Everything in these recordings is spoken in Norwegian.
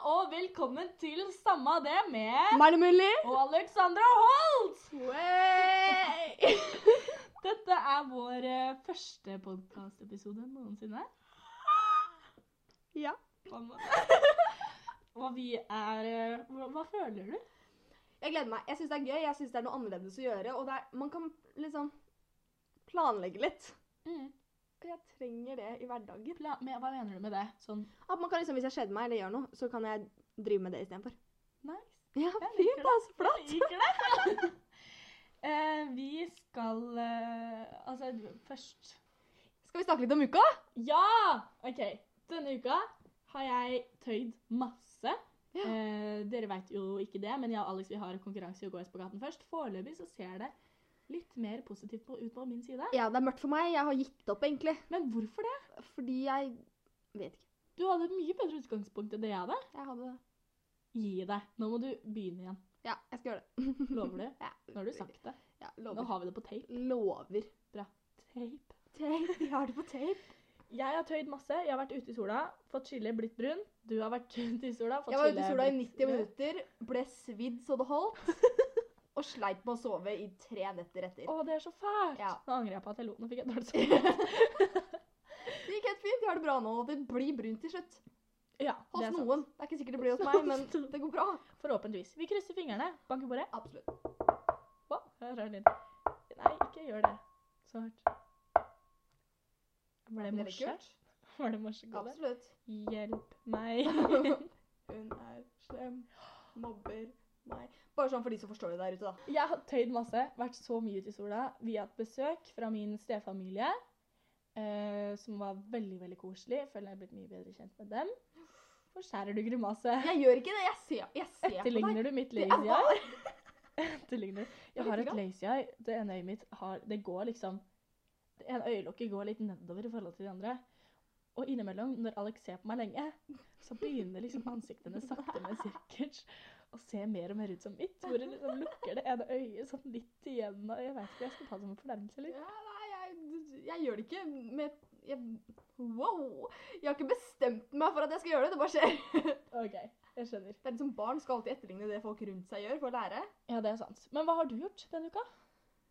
og velkommen til Samma det med Mari Mulli. og Alexandra Holt! Wey! Dette er vår eh, første podkastepisode noensinne. ja. Og vi er eh, Hva, hva føler du? Jeg gleder meg. Jeg syns det er gøy. Jeg syns det er noe annerledes å gjøre. Og det er, man kan liksom planlegge litt. Og jeg trenger det i hverdagen. Pla- men hva mener du med det? Sånn At man kan liksom, Hvis jeg kjeder meg eller gjør noe, så kan jeg drive med det istedenfor. nice? Ja, Jeg liker fint, altså. Flott. Jeg liker det. Eh, vi skal eh, Altså, først Skal vi snakke litt om uka? Ja! OK. Denne uka har jeg tøyd masse. Ja. Eh, dere vet jo ikke det, men jeg og Alex vi har konkurranse i å gå i spagaten først. Foreløpig så ser det litt mer positivt på, ut på min side. Ja, det er mørkt for meg. Jeg har gitt opp, egentlig. Men hvorfor det? Fordi jeg vet ikke. Du hadde et mye bedre utgangspunkt enn det jeg hadde. Jeg hadde det. Gi deg. Nå må du begynne igjen. Ja, jeg skal gjøre det. Lover du? Ja, Nå har du sagt det. Ja, Nå lover. har vi det på tape. Lover. Tape. Tape. Jeg har det på tape. Jeg har tøyd masse. Jeg har vært ute i sola, fått chille, blitt brun. Du har vært ute i sola, fått Jeg var ute chille, i sola i blitt 90 rød. minutter, ble svidd så det holdt, og sleit med å sove i tre netter etter. Å, det er så fælt! Ja. Nå angrer jeg på at jeg lot Nå fikk jeg dårlig samvittighet. Det gikk helt fint, jeg har det bra nå, og det blir brunt til slutt. ja, Hos det er sant. noen. Det er ikke sikkert det blir hos meg, men det går bra. Forhåpentligvis. Vi krysser fingrene. Bank i bordet. Absolutt. Wow, her er lyden. Nei, ikke gjør det. Så hardt. Var det Ble det morse? kult? Var det morse gode? Absolutt. Hjelp meg. Hun er slem, mobber meg. Bare sånn for de som forstår det der ute, da. Jeg har tøyd masse. Vært så mye ute i sola. Vi har hatt besøk fra min stefamilie. eh, som var veldig veldig koselig. Føler jeg er blitt mye bedre kjent med dem. Forskjærer du grimase? Jeg gjør ikke det, jeg ser, jeg ser på deg. Etterligner du mitt Det er lazy eye? bare- Etterligner. Jeg Litt har et grann. lazy eye. Det ene øyet mitt har Det går liksom Det ene øyelokket går litt nedover i forhold til de andre. Og innimellom, når Alex ser på meg lenge, så begynner liksom ansiktene sakte, men sikkert å se mer og mer ut som mitt. Hvor det liksom lukker det ene øyet sånn litt igjen. Og jeg veit ikke, jeg skal ta det som en fornærmelse, eller? Ja, nei, jeg, jeg gjør det ikke med jeg, Wow! Jeg har ikke bestemt meg for at jeg skal gjøre det, det bare skjer. OK, jeg skjønner. Det er liksom Barn skal alltid etterligne det folk rundt seg gjør, for å lære. Ja, det er sant. Men hva har du gjort denne uka?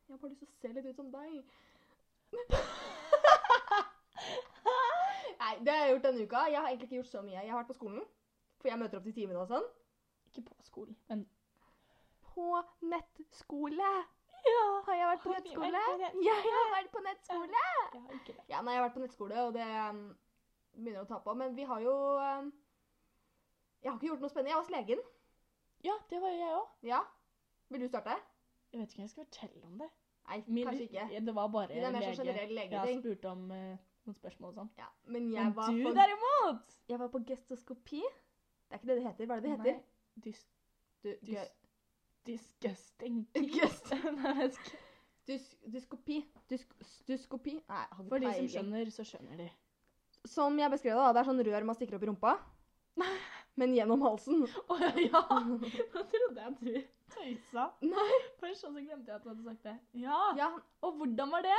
Jeg har bare lyst til å se litt ut som deg. Nei, det har jeg gjort denne uka. Jeg har egentlig ikke gjort så mye. Jeg har vært på skolen, for jeg møter opp til timene og sånn. Ikke på skolen, men På nettskole Ja, har jeg vært på Har vi vært nettskole. på nettskole? Jeg har vært på nettskole. jeg har ikke det. Ja, nei, jeg har vært på nettskole, og det um, begynner å ta på. Men vi har jo um, Jeg har ikke gjort noe spennende. Jeg var hos legen. Ja, det var jo jeg òg. Ja. Vil du starte? Jeg vet ikke om jeg skal fortelle om det. Nei, Min- kanskje ikke. Ja, Det var bare Det er mer sånn lege. generell Jeg legeting. spurte om eh, noen spørsmål og sånn. Ja, men jeg Men var du på derimot! Jeg var på gestoskopi. Det er ikke det det heter. Hva er det det heter? Nei, dys, Du, dys, disgusting. Gest- Nei, jeg skal- dus, dyskopi. Dysk, dyskopi. Nei, jeg hadde For de som peiling. skjønner, så skjønner de. Som jeg beskrev det, da, det er sånn rør man stikker opp i rumpa. Men gjennom halsen. Å ja! Nå trodde jeg at du tøysa. Nei. Først og så glemte jeg at du hadde sagt det. Ja! Ja, Og hvordan var det?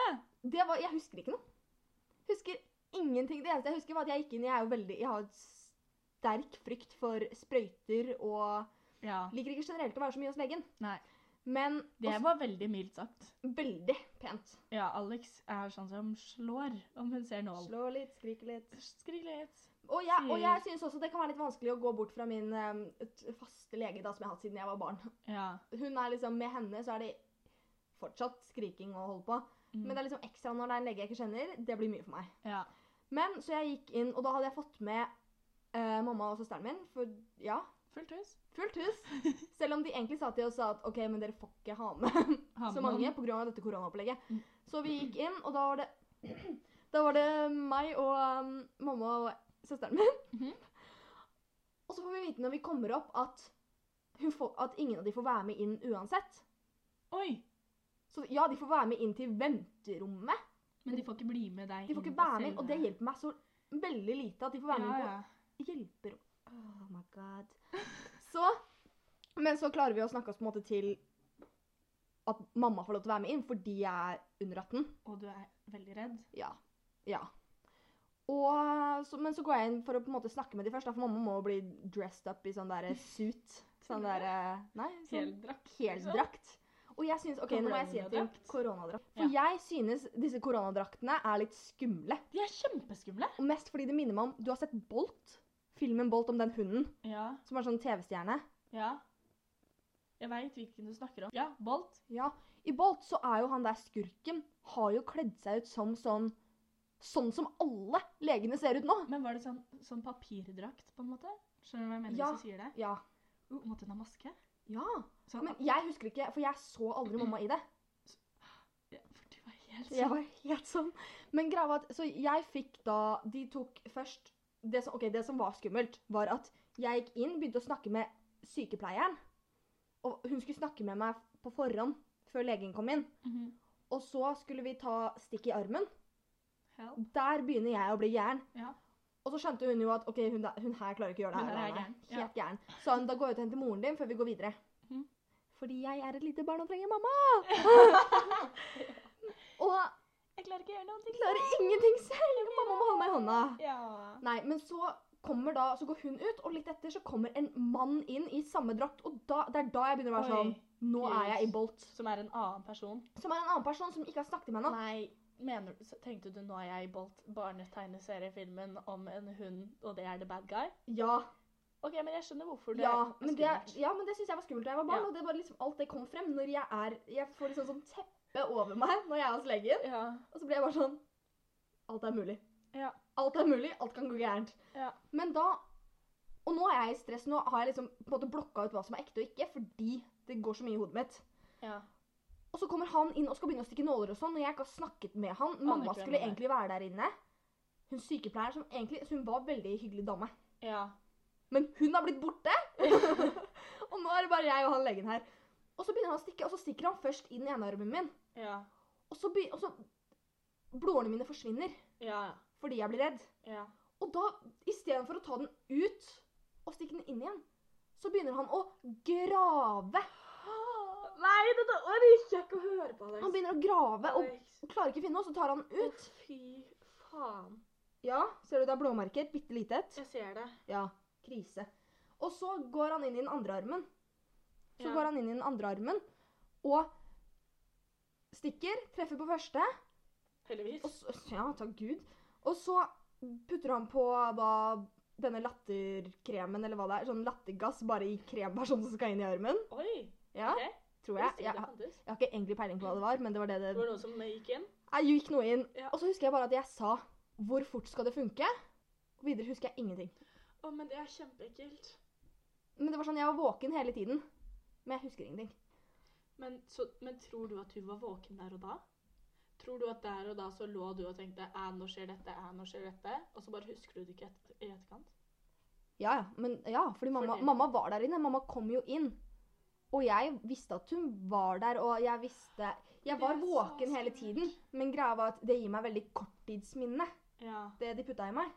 det var, Jeg husker ikke noe. Husker ingenting. Det eneste jeg husker, var at jeg gikk inn Jeg er jo veldig, jeg har sterk frykt for sprøyter og Ja. Liker ikke generelt å være så mye hos legen. Nei. Men Det også, var veldig mildt sagt. veldig pent. Ja, Alex er sånn som slår om hun ser nål. Slå litt, skrike litt. Skrik litt. Og jeg, og Sier- jeg synes også det kan være litt vanskelig å gå bort fra min em, t- faste lege da, som jeg har hatt siden jeg var barn. Ja. Hun er liksom, Med henne så er det fortsatt skriking og holde på. Mm. Men det er liksom ekstra når det er en lege jeg ikke kjenner. Det blir mye for meg. ja. Men så jeg gikk inn, og da hadde jeg fått med eh, mamma og søsteren min. For ja, Fullt hus. fullt hus. Selv om de egentlig sa til oss at OK, men dere får ikke ha med Ha så med mange noen. pga. dette koronaopplegget. Mm. Så vi gikk inn, og da var det Da var det meg og um, mamma og søsteren min. Mhm. Og så får vi vite når vi kommer opp, at, hun får, at ingen av de får være med inn uansett. Oi! Så ja, de får være med inn til venterommet. Men de får ikke bli med deg De får ikke være med inn, og det hjelper meg så veldig lite at de får være med inn på hjelperom. Oh my god. Så Men så klarer vi å snakke oss på en måte til at mamma får lov til å være med inn fordi jeg er under 18. Og du er veldig redd. Ja. Ja. Og, så, men så går jeg inn for å på en måte snakke med de først, da, for mamma må bli dressed up i sånn derre suit. Sånn derre Nei, sånn Heldrakt. liksom. heldrakt. Og jeg synes, ok, nå må jeg si en ting. Koronadrakt. Koronadrakt. For jeg synes disse koronadraktene er litt skumle. De er kjempeskumle. Og mest fordi det minner meg om Du har sett Bolt? Filmen Bolt om den hunden Ja. som er sånn TV-stjerne? Ja. Jeg veit hvilken du snakker om. Ja, Bolt. Ja. I Bolt så er jo han der skurken Har jo kledd seg ut som sånn Sånn som alle legene ser ut nå. Men var det sånn, sånn papirdrakt, på en måte? Skjønner du hva jeg mener Ja. hvis jeg sier det? Ja. Uh, måtte hun ha maske? Ja. Sånn, Men jeg husker ikke, for jeg så aldri mamma i det. ja, for du var helt Jeg sånn. var helt sånn. Men greia var at Så jeg fikk da De tok først det som, ok, det som var skummelt, var at jeg gikk inn, begynte å snakke med sykepleieren. Og hun skulle snakke med meg på forhånd før legen kom inn. Mhm. Og så skulle vi ta stikk i armen. Help. Der begynner jeg å bli gæren. Ja. Og så skjønte hun jo at ok, hun, da, hun her klarer ikke å gjøre det Hun her. her er alene. gæren, ja. Helt gæren. Sa hun da går jeg ut og henter moren din før vi går videre. Mhm. Fordi jeg er et lite barn og trenger mamma. Og Jeg klarer ikke å gjøre noen ting. jeg klarer ingenting selv. Mamma må holde meg i hånda. Ja. Nei, men så kommer da, så går hun ut, og litt etter så kommer en mann inn i samme drakt, og da, det er da jeg begynner å være Oi. sånn Nå er jeg i Bolt. Som er en annen person. Som er en annen person som ikke har snakket med henne. Nei, mener, du- tenkte du nå er jeg i Bolt, barnetegneseriefilmen om en hund, og det er the bad guy? Ja, Ok, men jeg skjønner hvorfor det ja, er men det, skummelt. ja, men det syns jeg var skummelt da jeg var barn. Ja. Og det var liksom alt det kom frem når jeg er Jeg får liksom sånn teppe over meg når jeg er hos legen. Ja. Og så blir jeg bare sånn Alt er mulig. Ja. Alt er mulig, alt kan gå gærent. Ja. Men da Og nå er jeg i stress. Nå har jeg liksom på en måte blokka ut hva som er ekte og ikke, fordi det går så mye i hodet mitt. ja. Og så kommer han inn og skal begynne å stikke nåler og sånn, og jeg ikke har snakket med han. Mamma ikke hvem skulle han er. egentlig være der inne. Hun sykepleieren som egentlig så Hun var veldig hyggelig dame. Ja. Men hun har blitt borte! og nå er det bare jeg og han legen her. Og så begynner han å stikke, og så stikker han først i den ene armen min. Ja. Og så, be, og så Blodårene mine forsvinner Ja. fordi jeg blir redd. Ja. Og da, istedenfor å ta den ut og stikke den inn igjen, så begynner han å grave. Nei, dette orker jeg ikke å høre på, Alex. Han begynner å grave og Alex. klarer ikke å finne noe, så tar han den Å, ut. fy faen. Ja, ser du det er blåmerker? Bitte lite et. Jeg ser det. Ja, krise. Og så går han inn i den andre armen. Så Ja. går han inn i den andre armen og stikker, treffer på første, Heldigvis. og så, ja, takk Gud. Og så putter han på da denne latterkremen, eller hva det er, sånn lattergass, bare i kremversjonen som skal inn i armen. Oi. Ja, Ok. tror Jeg visste jeg. jeg. ikke det har- fantes. Jeg har ikke egentlig peiling på hva det var, men det var det det Det var noen som gikk inn. Jeg gikk noe inn. Ja. Og så husker jeg bare at jeg sa 'hvor fort skal det funke?' Og videre husker jeg ingenting. Å, men det er kjempeekkelt. Men det var sånn, jeg var våken hele tiden. Men jeg husker ingenting. Men, så, men tror du at du var våken der og da? Tror du at der og da så lå du og tenkte «Æ, nå skjer dette, æ, nå skjer dette, og så bare husker du det ikke et, i etterkant? Ja, ja. Men, ja fordi mamma, Fortell. mamma var der inne. Mamma kom jo inn. Og jeg visste at hun var der, og jeg visste Jeg var Det er så våken hele skummelt. tiden, men greia var at det gir meg veldig korttidsminne, Ja. det de putta i meg.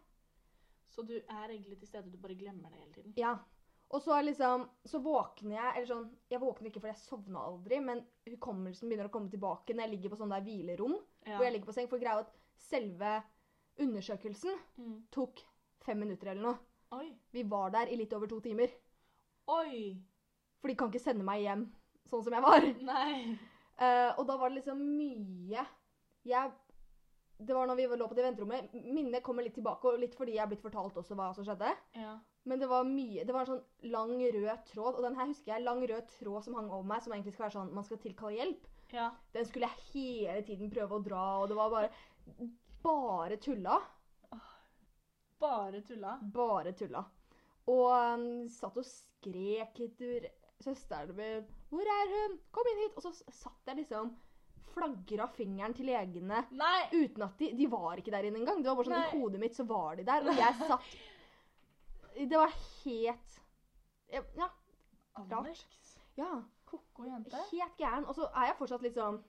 Så du er egentlig til stede, du bare glemmer det hele tiden? Ja. Og så liksom Så våkner jeg Eller sånn Jeg våkner ikke fordi jeg sovna aldri, men hukommelsen begynner å komme tilbake når jeg ligger på sånn der hvilerom, Ja. hvor jeg ligger på seng. For greia er at selve undersøkelsen Mm. tok fem minutter eller noe. Oi. Vi var der i litt over to timer. Oi! For de kan ikke sende meg hjem sånn som jeg var. Nei. Eh, og da var det liksom mye Jeg Det var når vi lå på det venterommet. Minnet kommer litt tilbake, og litt fordi jeg er blitt fortalt også hva som skjedde. Ja. Men det var mye Det var en sånn lang, rød tråd. Og den her husker jeg. Lang, rød tråd som hang over meg, som egentlig skal være sånn Man skal tilkalle hjelp. Ja. Den skulle jeg hele tiden prøve å dra, og det var bare Bare tulla. Bare tulla. Bare tulla. Og um, satt og skrek etter søsteren min. 'Hvor er hun? Kom inn hit!' Og så s- satt jeg liksom Flagra fingeren til legene Nei! uten at de De var ikke der inne engang. Det var bare sånn Nei. I hodet mitt så var de der, og jeg satt Det var helt jeg- Ja. Alex. ja Koko jente. helt gæren. Og så er jeg fortsatt litt sånn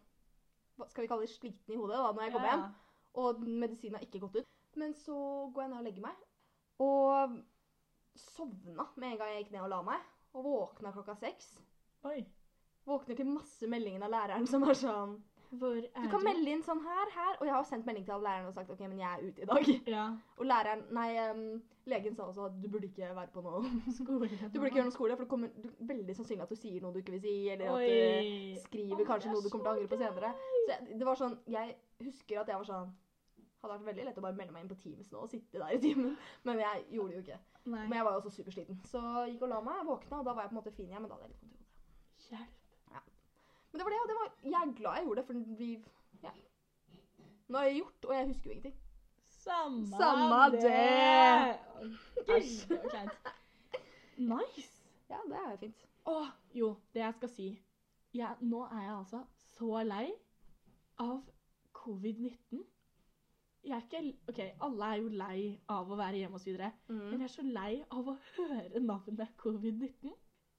hva Skal vi kalle det sliten i hodet da, når jeg kommer hjem? Og medisinen har ikke gått ut. Men så går jeg ned og legger meg. Og sovna med en gang jeg gikk ned og la meg. Og våkna klokka seks. Oi. Våkner til masse meldinger av læreren som er sånn Hvor er Du kan melde inn sånn her, her. Og jeg har sendt melding til alle lærerne og sagt ok, men jeg er ute i dag. Ja, Og læreren, nei, em, legen sa også at du burde ikke være på noe skole. Du burde ikke gjøre noe skole, for det kommer du, veldig sannsynlig at du sier noe du ikke vil si, eller at du Oi. skriver Å, det kanskje er noe du kommer til så å angre på senere. Så jeg, det var sånn, jeg husker at jeg var sånn Hadde vært veldig lett å bare melde meg inn på Teams nå og sitte der i timen, men jeg gjorde det jo ikke. Nei. Men jeg var jo også supersliten. Så gikk og la meg, våkna, og da var jeg på en måte fin igjen, men da hadde jeg litt vondt i hodet. Hjelp. Men det var det, og det var, jeg er glad jeg gjorde det, for vi ja. Nå har jeg gjort, og jeg husker jo ingenting. Samme, Samme det. Gud, det var kleint. Nice. Ja, det er jo fint. Å, jo, det jeg skal si. Jeg, nå er jeg altså så lei av covid-19. Jeg er ikke OK, alle er jo lei av å være hjemme osv. Men jeg er så lei av å høre navnet covid-19.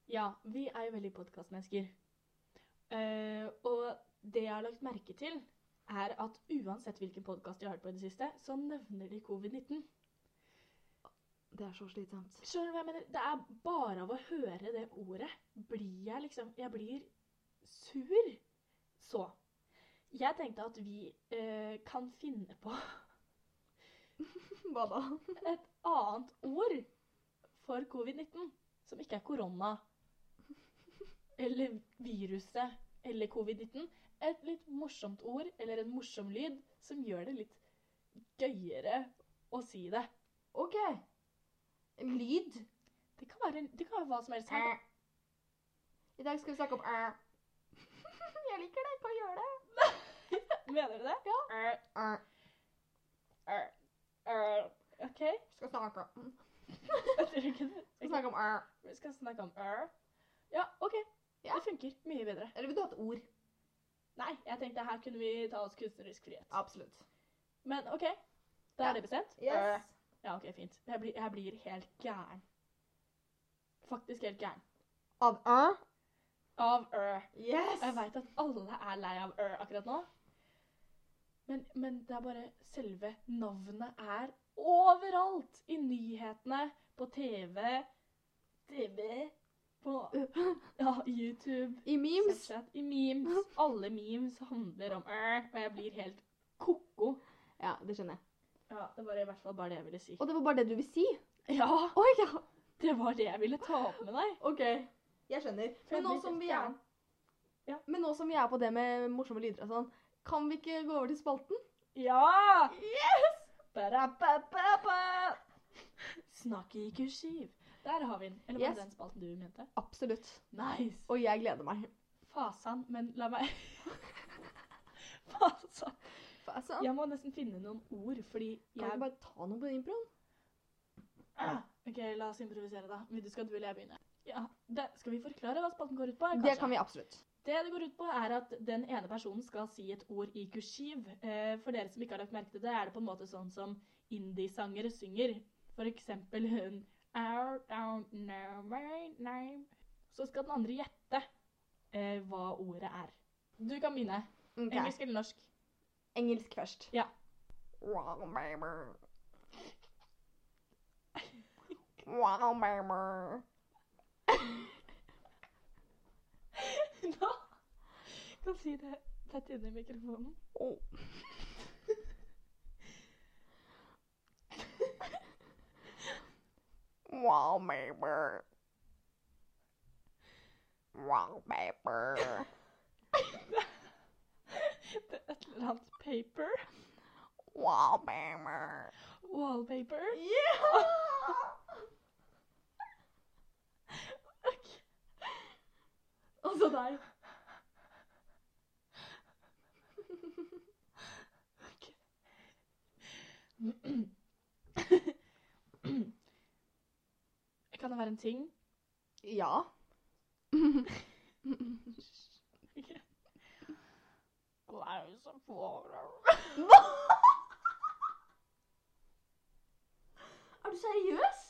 Ja, vi er jo veldig podkastmennesker. Eh, og det jeg har lagt merke til, er at uansett hvilken podkast jeg har hørt på i det siste, så nevner de covid-19. Det er så slitsomt. Skjønner du hva jeg mener? Det er bare av å høre det ordet blir jeg liksom Jeg blir sur. Så jeg tenkte at vi eh, kan finne på Hva da? et annet ord for covid-19 som ikke er korona eller viruset eller covid-19. Et litt morsomt ord eller en morsom lyd som gjør det litt gøyere å si det. OK. Lyd. Det kan være, det kan være hva som helst. Her. Æ. Eh. I dag skal vi snakke om æ. Jeg liker det. Kan gjøre det. Mener du det? Ja. Æ. OK. Skal snakke om mm, Jeg tror ikke det. Skal snakke om eh, æ. Vi skal snakke om ør. Ja, OK. Ja. Det funker mye bedre. Eller vil du ha et ord? Nei, jeg tenkte her kunne vi ta oss kunstnerisk frihet. Absolutt. Eh, Men OK, da Ja. er det bestemt? Ør. Yes. Ja, OK, fint. Jeg blir, jeg blir helt gæren. Faktisk helt gæren. Av eh? æ? Av ør. Yes. Jeg veit at alle er lei av ør akkurat nå. Men, men det er bare selve navnet er overalt! I nyhetene, på TV, TV, på ja, YouTube. I memes. Snapchat, I memes. Alle memes handler om ør, og jeg blir helt ko-ko. Ja, det skjønner jeg. Ja, det var i hvert fall bare det jeg ville si. Og det var bare det du vil si? Ja, Å ja. det var det jeg ville ta opp med deg. OK. Jeg skjønner. Jeg Men nå blir som helt vi er gæren. Ja. Men nå som vi er på det med morsomme lyder og sånn, kan vi ikke gå over til spalten? Ja! Yes! Ba-da-ba-ba-ba. Snakkeuke syv. Der har vi den. Eller var Yes. det den spalten du mente? Absolutt. Nice! Og jeg gleder meg. Fasan, men la meg Fasan. Altså, Jeg må nesten finne noen ord, fordi Kan vi jeg bare ta noe på improen? Ah, OK, la oss improvisere, da. Vil du skal du eller jeg begynne? Ja, det, Skal vi forklare hva spalten går ut på? Det kan vi absolutt. Det det går ut på, er at den ene personen skal si et ord i kursiv. Eh, For dere som ikke har lagt merke til det, er det på en måte sånn som indiesangere synger. For eksempel hun I don't know my name. Så skal den andre gjette eh, hva ordet er. Du kan begynne. Ok. Engelsk eller norsk? Engelsk først. Ja. Wow, baby. Wow, baby. Nå kan si det tett inni mikrofonen. Oh. wow, baby. Wow, baby. Det er et eller annet paper. Wow, baby. Wallpaper. Ok. Altså deg. Kan det være en ting? Ja. Er du seriøs?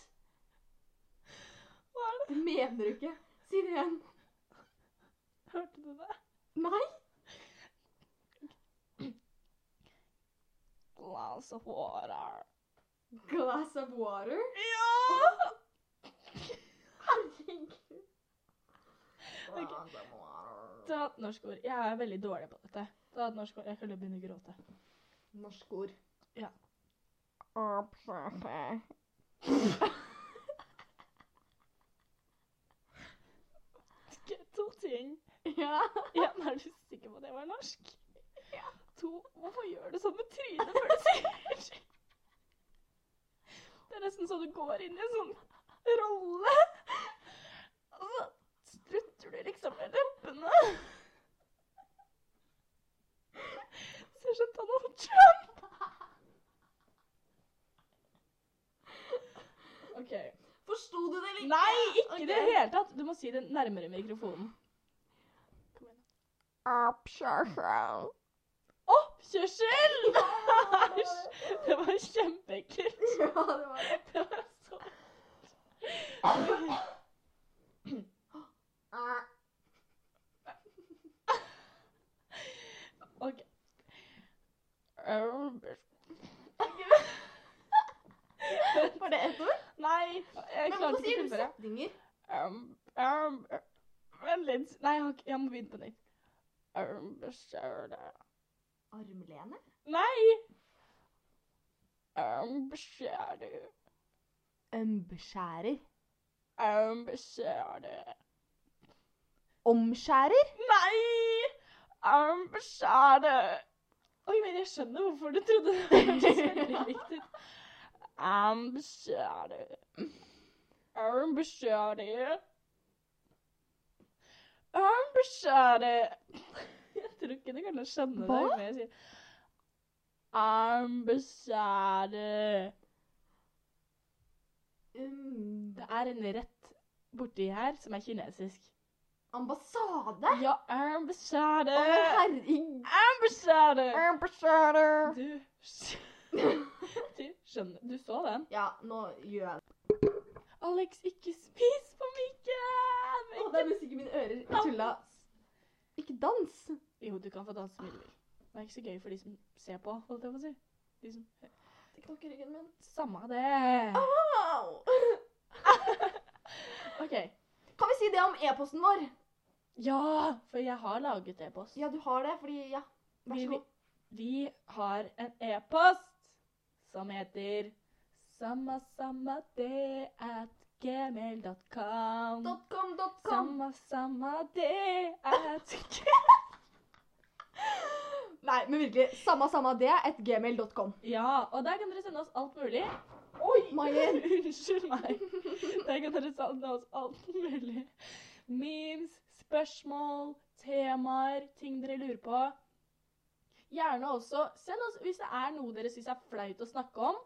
Hva er det? Det mener du ikke. Si det igjen. Hørte du det? Nei. Glass of water. Glass of water? Ja! Herregud. Ta et norsk ord. Jeg er veldig dårlig på dette. Det er et norsk ord. Jeg kan begynne å gråte. Norsk ord. Ja. Ok, To ting. ja. En, er du sikker på at det var norsk? To, hvorfor gjør du sånn med trynet før du sier ting? Det er nesten så du går inn i en sånn rolle. Og så strutter du liksom med leppene. Ser ut som Donald Trump. OK. Forsto du det litt? Nei, ikke i det Ok. hele tatt. Du må si det nærmere mikrofonen. Kom igjen. Oppkjørsel! Æsj! Det var kjempeekkelt. Ja, det var det. Det var så OK. Var det ett ord? Nei, jeg Men klarte ikke å hvorfor sier du fullføre. setninger? Um, um, Vent litt. Nei, jeg, har ikke- jeg må begynne på nytt. Um, skjøle. Armlene? Nei! Um, skjøle. Ømbeskjærer. Um, skjøle. Omskjærer? Nei! Um, skjøle. Oi, men jeg skjønner hvorfor du trodde det hørtes veldig likt ut. Um, skjøle. Um, skjøle. Um, skjøle. Jeg tror ikke du kan skjønne det. Hva? Men jeg sier Ambassadør. Um, Det er en rett borti her som er kinesisk. ambassade? Å, Ja, Eh. ambassadør. herregud. Ambassadør. Ambassadør. Du, skj- du skjønner Du så den? Ja, nå gjør jeg det. Alex, ikke spis på mikken! Å, det er musikken mine ører. Jeg tulla. Ikke dans. Jo, du kan få danse med Lill. Det er ikke så gøy for de som ser på, holdt jeg på å si. De som Det knakk i ryggen min. Samme det. Au! OK. Kan vi si det om e-posten vår? Ja, for jeg har laget e-post. Ja, du har det, fordi Ja, vær Vi- så vi- god. Vi har en e-post som heter Samma samma det at gmail.com Dotcom, dotcom. Samma samma det at Nei, men virkelig. Samme, samme det. Et gmail.com. Ja, og der kan dere sende oss alt mulig. Oi! Mayen. Unnskyld meg. Der kan dere sende oss alt mulig. Memes, spørsmål, temaer, ting dere lurer på. Gjerne også send oss hvis det er noe dere syns er flaut å snakke om.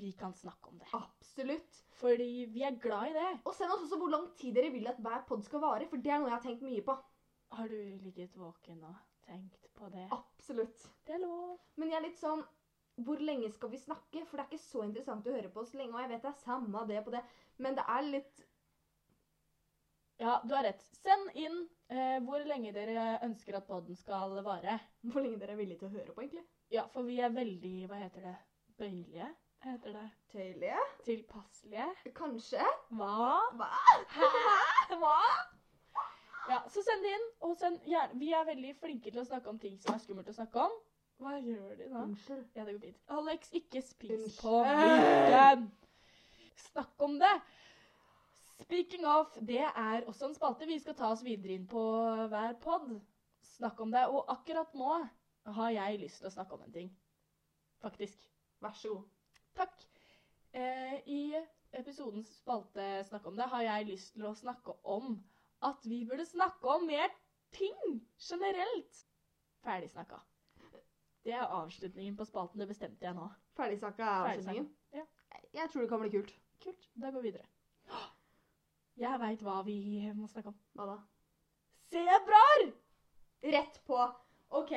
Vi kan snakke om det. Absolutt. Fordi vi er glad i det. Og send oss også hvor lang tid dere vil at hver pod skal vare, for det er noe jeg har tenkt mye på. Har du ligget våken og tenkt på det? Absolutt. Det er lov. Men jeg er litt sånn Hvor lenge skal vi snakke? For det er ikke så interessant å høre på oss lenge, og jeg vet det er samme det på det, men det er litt Ja, du har rett. Send inn eh, hvor lenge dere ønsker at podden skal vare. Hvor lenge dere er villige til å høre på, egentlig. Ja, for vi er veldig, hva heter det, bøyelige? Heter det Tøyelige? tilpasselige? Kanskje? Hva? Hva? Hva? Ja, så send det inn. Og send gjerne. Vi er veldig flinke til å snakke om ting som er skummelt å snakke om. Hva gjør de nå? Unnskyld. Ja, det går fint. Alex, ikke spis Unnskyld. på mikken. Snakk om det. Speaking of, det er også en spalte vi skal ta oss videre inn på hver pod. Snakk om det. Og akkurat nå har jeg lyst til å snakke om en ting. Faktisk. Vær så god. Takk. Eh, I episodens spalte Snakk om det har jeg lyst til å snakke om at vi burde snakke om mer ting generelt. Ferdig snakka. Det er avslutningen på spalten. Det bestemte jeg nå. Ferdigsnakka er avslutningen. Ja. Jeg tror det kan bli kult. Kult. Da går vi videre. Jeg veit hva vi må snakke om. Hva da? Sebraer! Rett på. OK.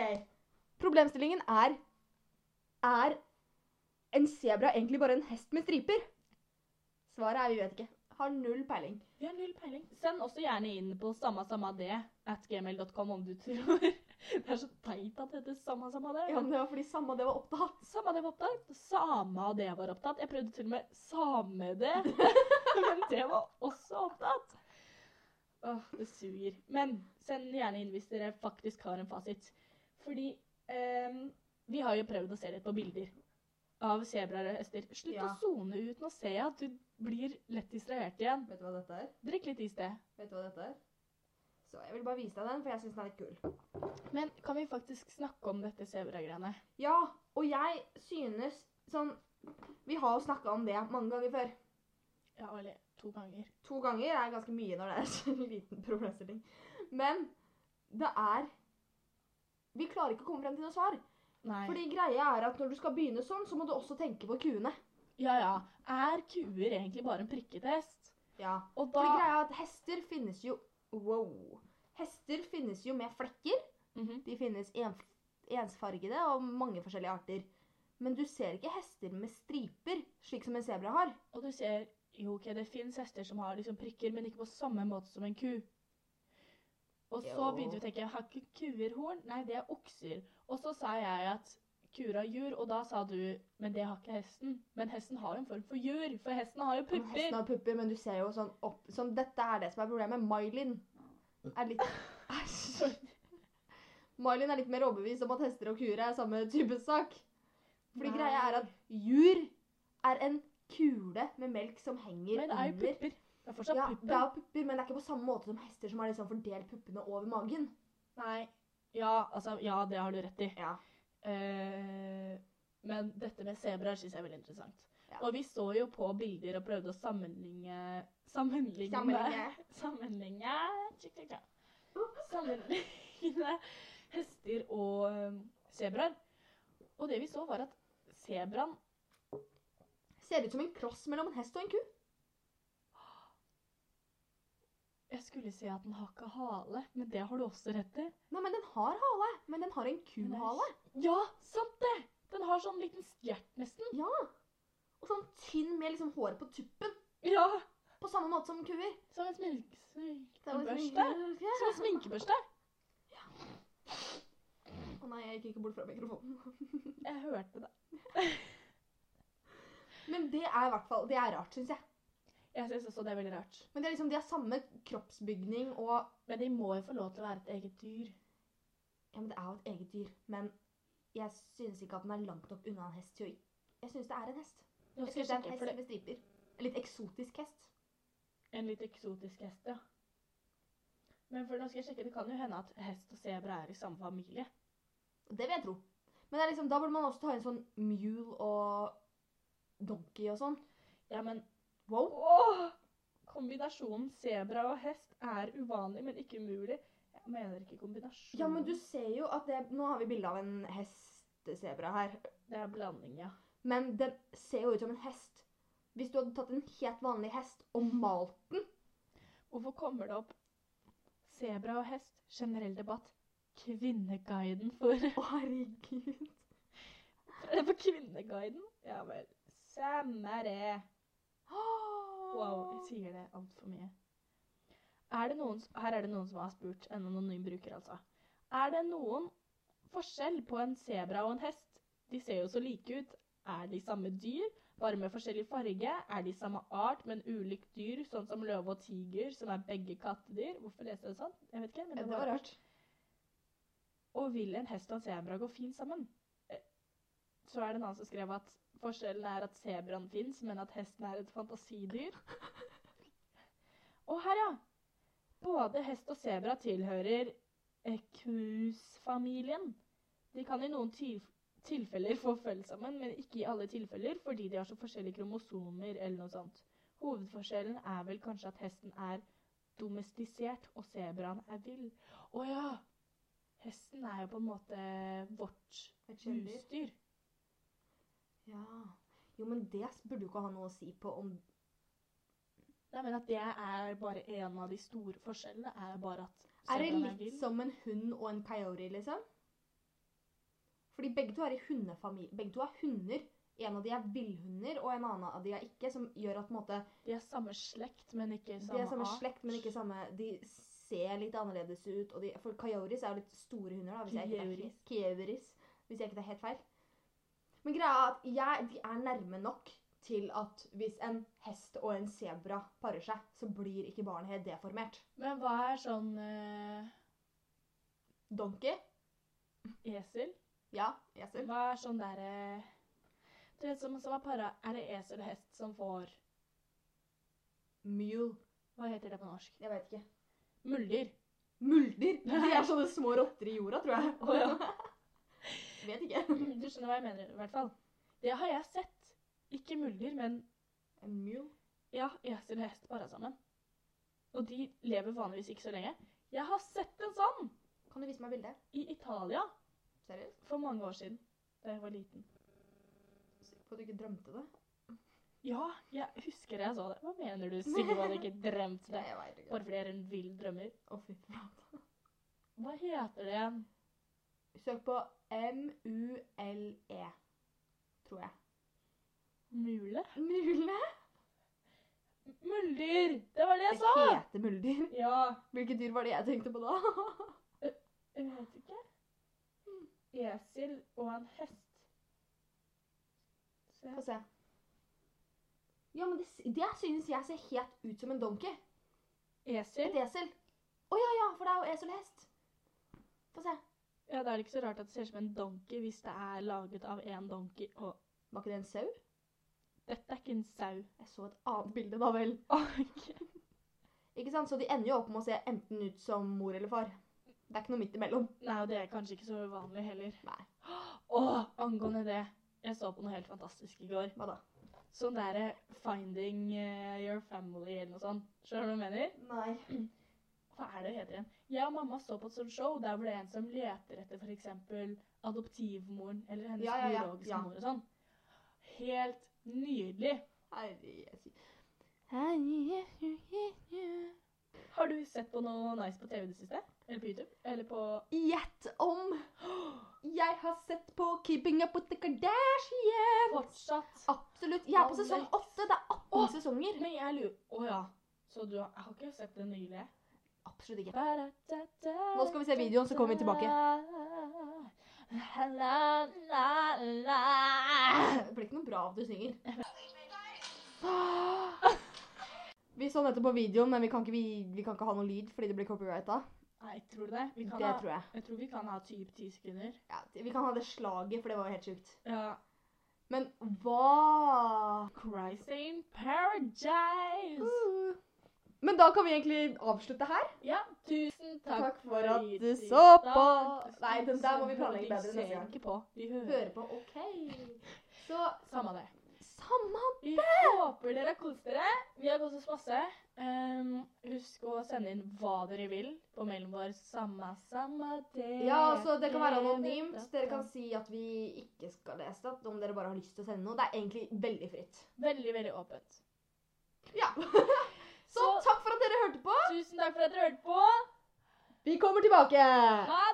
Problemstillingen er Er en sebra egentlig bare en hest med striper? Svaret er vi vet ikke. Har null peiling. Vi har null peiling. Send også gjerne inn på samme samme det at gmail.com om du tror. Det er så teit at det heter samme samme det. Ja, men det var fordi samme det var opptatt. Samme det var opptatt. Same og det var opptatt. Jeg prøvde til og med same det, men det var også opptatt. Åh, det suger. Men send gjerne inn hvis dere faktisk har en fasit. Fordi ehm, Vi har jo prøvd å se litt på bilder av sebraer og hester. Slutt Ja. å sone ut. Nå ser jeg at du blir lett distrahert igjen. Vet du hva dette er? Drikk litt is, det. Vet du hva dette er? Så jeg vil bare vise deg den, for jeg syns den er litt kul. Men kan vi faktisk snakke om dette sebragreiene? Ja, og jeg synes sånn Vi har jo snakka om det mange ganger før. Ja, eller to ganger. To ganger er ganske mye når det er så liten problemstilling. Men det er Vi klarer ikke å komme frem til noe svar. Nei. Fordi greia er at når du skal begynne sånn, så må du også tenke på kuene. Ja, ja. Er kuer egentlig bare en prikkete hest? Ja. Og da Fordi greia er at hester finnes jo Wow. Hester finnes jo med flekker. Mhm. De finnes en, ensfargede og mange forskjellige arter. Men du ser ikke hester med striper, slik som en sebra har. Og du ser jo, ok, det fins hester som har liksom prikker, men ikke på samme måte som en ku. Og så Jo. begynte vi å tenke har ikke kuer horn? Nei, det er okser. Og så sa jeg at kuer har jur, og da sa du men det har ikke hesten. Men hesten har jo en form for jur, for hesten har jo Men Hesten pupper. har pupper, men du ser jo sånn opp sånn, Dette er det som er problemet. Mylin er litt Æsj. Mylin er litt mer overbevist om at hester og kuer er samme type sak. Fordi Nei. greia er at jur er en kule med melk som henger Men det er jo under pupper. Det er fortsatt Ja, det pupper. er pupper, men det er ikke på samme måte som hester som har liksom fordelt puppene over magen. Nei. Ja, altså, ja, det har du rett i. Ja. Eh, men dette med sebraer syns jeg er veldig interessant. Ja. Og vi så jo på bilder og prøvde å sammenligne Sammenligne, Sammenligne. sammenligne, tjekk, tjekk, tjekk. sammenligne hester og eh, sebraer. Og det vi så, var at sebraen Ser ut som en kross mellom en hest og en ku. Jeg skulle si at den har ikke hale, men det har du også rett i. Nei, men den har hale. Men den har en kuhale. Ja, sant det! Den har sånn liten stjert, nesten. Ja. Og sånn tynn med liksom håret på tuppen. Ja, På samme måte som kuer. Som en smink- Det er liksom- sminkebørste. Ja. Som en sminkebørste. Å nei, jeg gikk ikke bort fra mikrofonen. Jeg hørte det. Men det er i hvert fall Det er rart, syns jeg. Jeg syns også det er veldig rart. Men det er liksom, de har samme kroppsbygning og Men de må jo få lov til å være et eget dyr. Ja, men det er jo et eget dyr. Men jeg syns ikke at den er langt nok unna en hest til å Jeg syns det er en hest. Nå Jeg skal synes jeg det er en sjekke, hest for det med striper. En litt eksotisk hest. En litt eksotisk hest, ja. Men for nå skal jeg sjekke, det kan jo hende at hest og sebra er i samme familie. Og Det vil jeg tro. Men det er liksom, da burde man også ta inn sånn mule og donkey og sånn. Ja, men Wow. Åh! Kombinasjonen sebra og hest er uvanlig, men ikke umulig. Jeg mener ikke kombinasjon. Ja, men du ser jo at det Nå har vi bilde av en hestesebra her. Det er blanding, ja. Men den ser jo ut som en hest. Hvis du hadde tatt en helt vanlig hest og malt Hvorfor kommer det opp sebra og hest? Generell debatt. Kvinneguiden for Å, herregud. Er det på Kvinneguiden? Ja vel. Samme det. Wow, jeg sier det altfor mye. Er det noen, her er det noen som har spurt, en anonym bruker altså. Er det noen forskjell på en sebra og en hest? De ser jo så like ut. Er de samme dyr, bare med forskjellig farge? Er de samme art, men ulikt dyr, sånn som løve og tiger, som er begge kattedyr? Hvorfor leste jeg det sånn? Jeg vet ikke, men Ja, det var rart. Og vil en hest og en sebra gå fint sammen? Eh, Så er det en annen som skrev at forskjellen er at sebraen fins, men at hesten er et fantasidyr. Og her, ja. Både hest og sebra tilhører equus-familien. De kan i noen til tilfeller få følge sammen, men ikke i alle tilfeller fordi de har så forskjellige kromosomer eller noe sånt. Hovedforskjellen er vel kanskje at hesten er domestisert og sebraen er vill. Å ja! Hesten er jo på en måte vårt Et kjæledyr. husdyr. Ja. Jo, men det burde jo ikke ha noe å si på om Nei, men at det er bare en av de store forskjellene, er bare at Er det sebraen litt som en hund og en coyote, liksom? Fordi begge to er i hundefamilie. Begge to er hunder. En av de er villhunder, og en annen av de er ikke, som gjør at på en måte, De er samme slekt, men ikke samme, de er samme art. slekt, men ikke samme De ser litt annerledes ut. Og de, for coyotes er jo litt store hunder, da, hvis jeg ikke tar, Coyotes. he- coyotes, hvis jeg ikke tar helt feil. Men greia er at jeg, de er nærme nok til at hvis en hest og en sebra parer seg, så blir ikke barnet helt deformert. Men hva er sånn eh, Donkey Esel? Ja, esel. Hva er sånn derre Du vet som, som er para... Er det esel og hest som får Mule. Hva heter det på norsk? Jeg vet ikke. Muldyr. Muldyr. De er sånne små rotter i jorda, tror jeg. Å, ja. Vet ikke. Du skjønner hva jeg mener, i hvert fall. Det har jeg sett. Ikke muldyr, men En mule. ja, esel og hest para sammen. Og de lever vanligvis ikke så lenge. Jeg har sett en sånn Kan du vise meg bildet? i Italia Seriøst? for mange år siden, da jeg var liten. Sikker på at du ikke drømte det? Ja, jeg husker jeg så det. Hva mener du? Sikkert var det ikke drømt det. Jeg vet ikke. Bare fordi jeg er en vill drømmer. Å, fy flate. Hva heter det igjen? Søk på M-U-L-E, E, tror jeg. Mule? Mule? Muldyr! Det var det Det jeg sa! heter muldyr. Ja. Hvilket dyr var det jeg tenkte på da? Jeg vet ikke. Esel og en hest. Se. Få se. Ja, men det, det synes jeg ser helt ut som en donkey. Et Esel? esel. Å ja, ja, for det er jo esel og hest. Få se. Ja, da er det ikke så rart at det ser ut som en donkey hvis det er laget av en donkey. Og Var ikke det en sau? dette er ikke en sau. Jeg så et annet bilde, da vel. Ok. Ikke sant? Så de ender jo opp med å se enten ut som mor eller far. Det er ikke noe midt imellom. Nei, og det er kanskje ikke så uvanlig heller. Nei. Åh, angående det. Jeg så på noe helt fantastisk i går. Hva da? Sånn derre Finding eh, Your Family eller noe sånt. Skjønner du hva jeg mener? Nei. Hva er det det heter igjen? Jeg og mamma så på et sånt show der hvor det er en som leter etter f.eks. adoptivmoren eller hennes Ja, ja, ja. biologiske Ja. mor og sånn. Helt nydelig. Herre Jesu. Har du sett på noe nice på TV i det siste? Eller på YouTube? Eller på Gjett om jeg har sett på Keeping Up With The Kardashians! Fortsatt? Absolutt. Jeg er på sesong åtte. Det er 18 sesonger. Men jeg lurer Å ja. Så du har, jeg har ikke sett den nylige? Absolutt ikke. Nå skal vi se videoen, så kommer vi tilbake. Det blir ikke noe bra av du synger. Vi så nettopp på videoen, men vi kan ikke, vi, vi kan ikke ha noe lyd fordi det blir copyrighta. Nei, tror du det? Vi kan Det ha, tror jeg. jeg tror vi kan ha typ ti sekunder. Ja, vi kan ha det slaget, for det var jo helt sjukt. Ja. Men hva Christ in paradise! Men da kan vi egentlig avslutte her. Ja, tusen takk, Takk for at hit du i så dag. på. Nei, den der må vi planlegge De bedre neste ser gang. ikke på. De hører. Høre på OK. Så Samme det. samme Vi håper dere har kost dere. Vi har kost oss masse. Ehm, husk å sende inn hva dere vil på mailen vår. Samme, samme det Ja, altså Det kan være anonymt. Dere kan si at vi ikke skal lese det. Om dere bare har lyst til å sende noe. Det er egentlig veldig fritt. Veldig, veldig åpent. Ja. Så Så takk for at dere hørte på. tusen takk for at dere hørte på. Vi kommer tilbake. Ha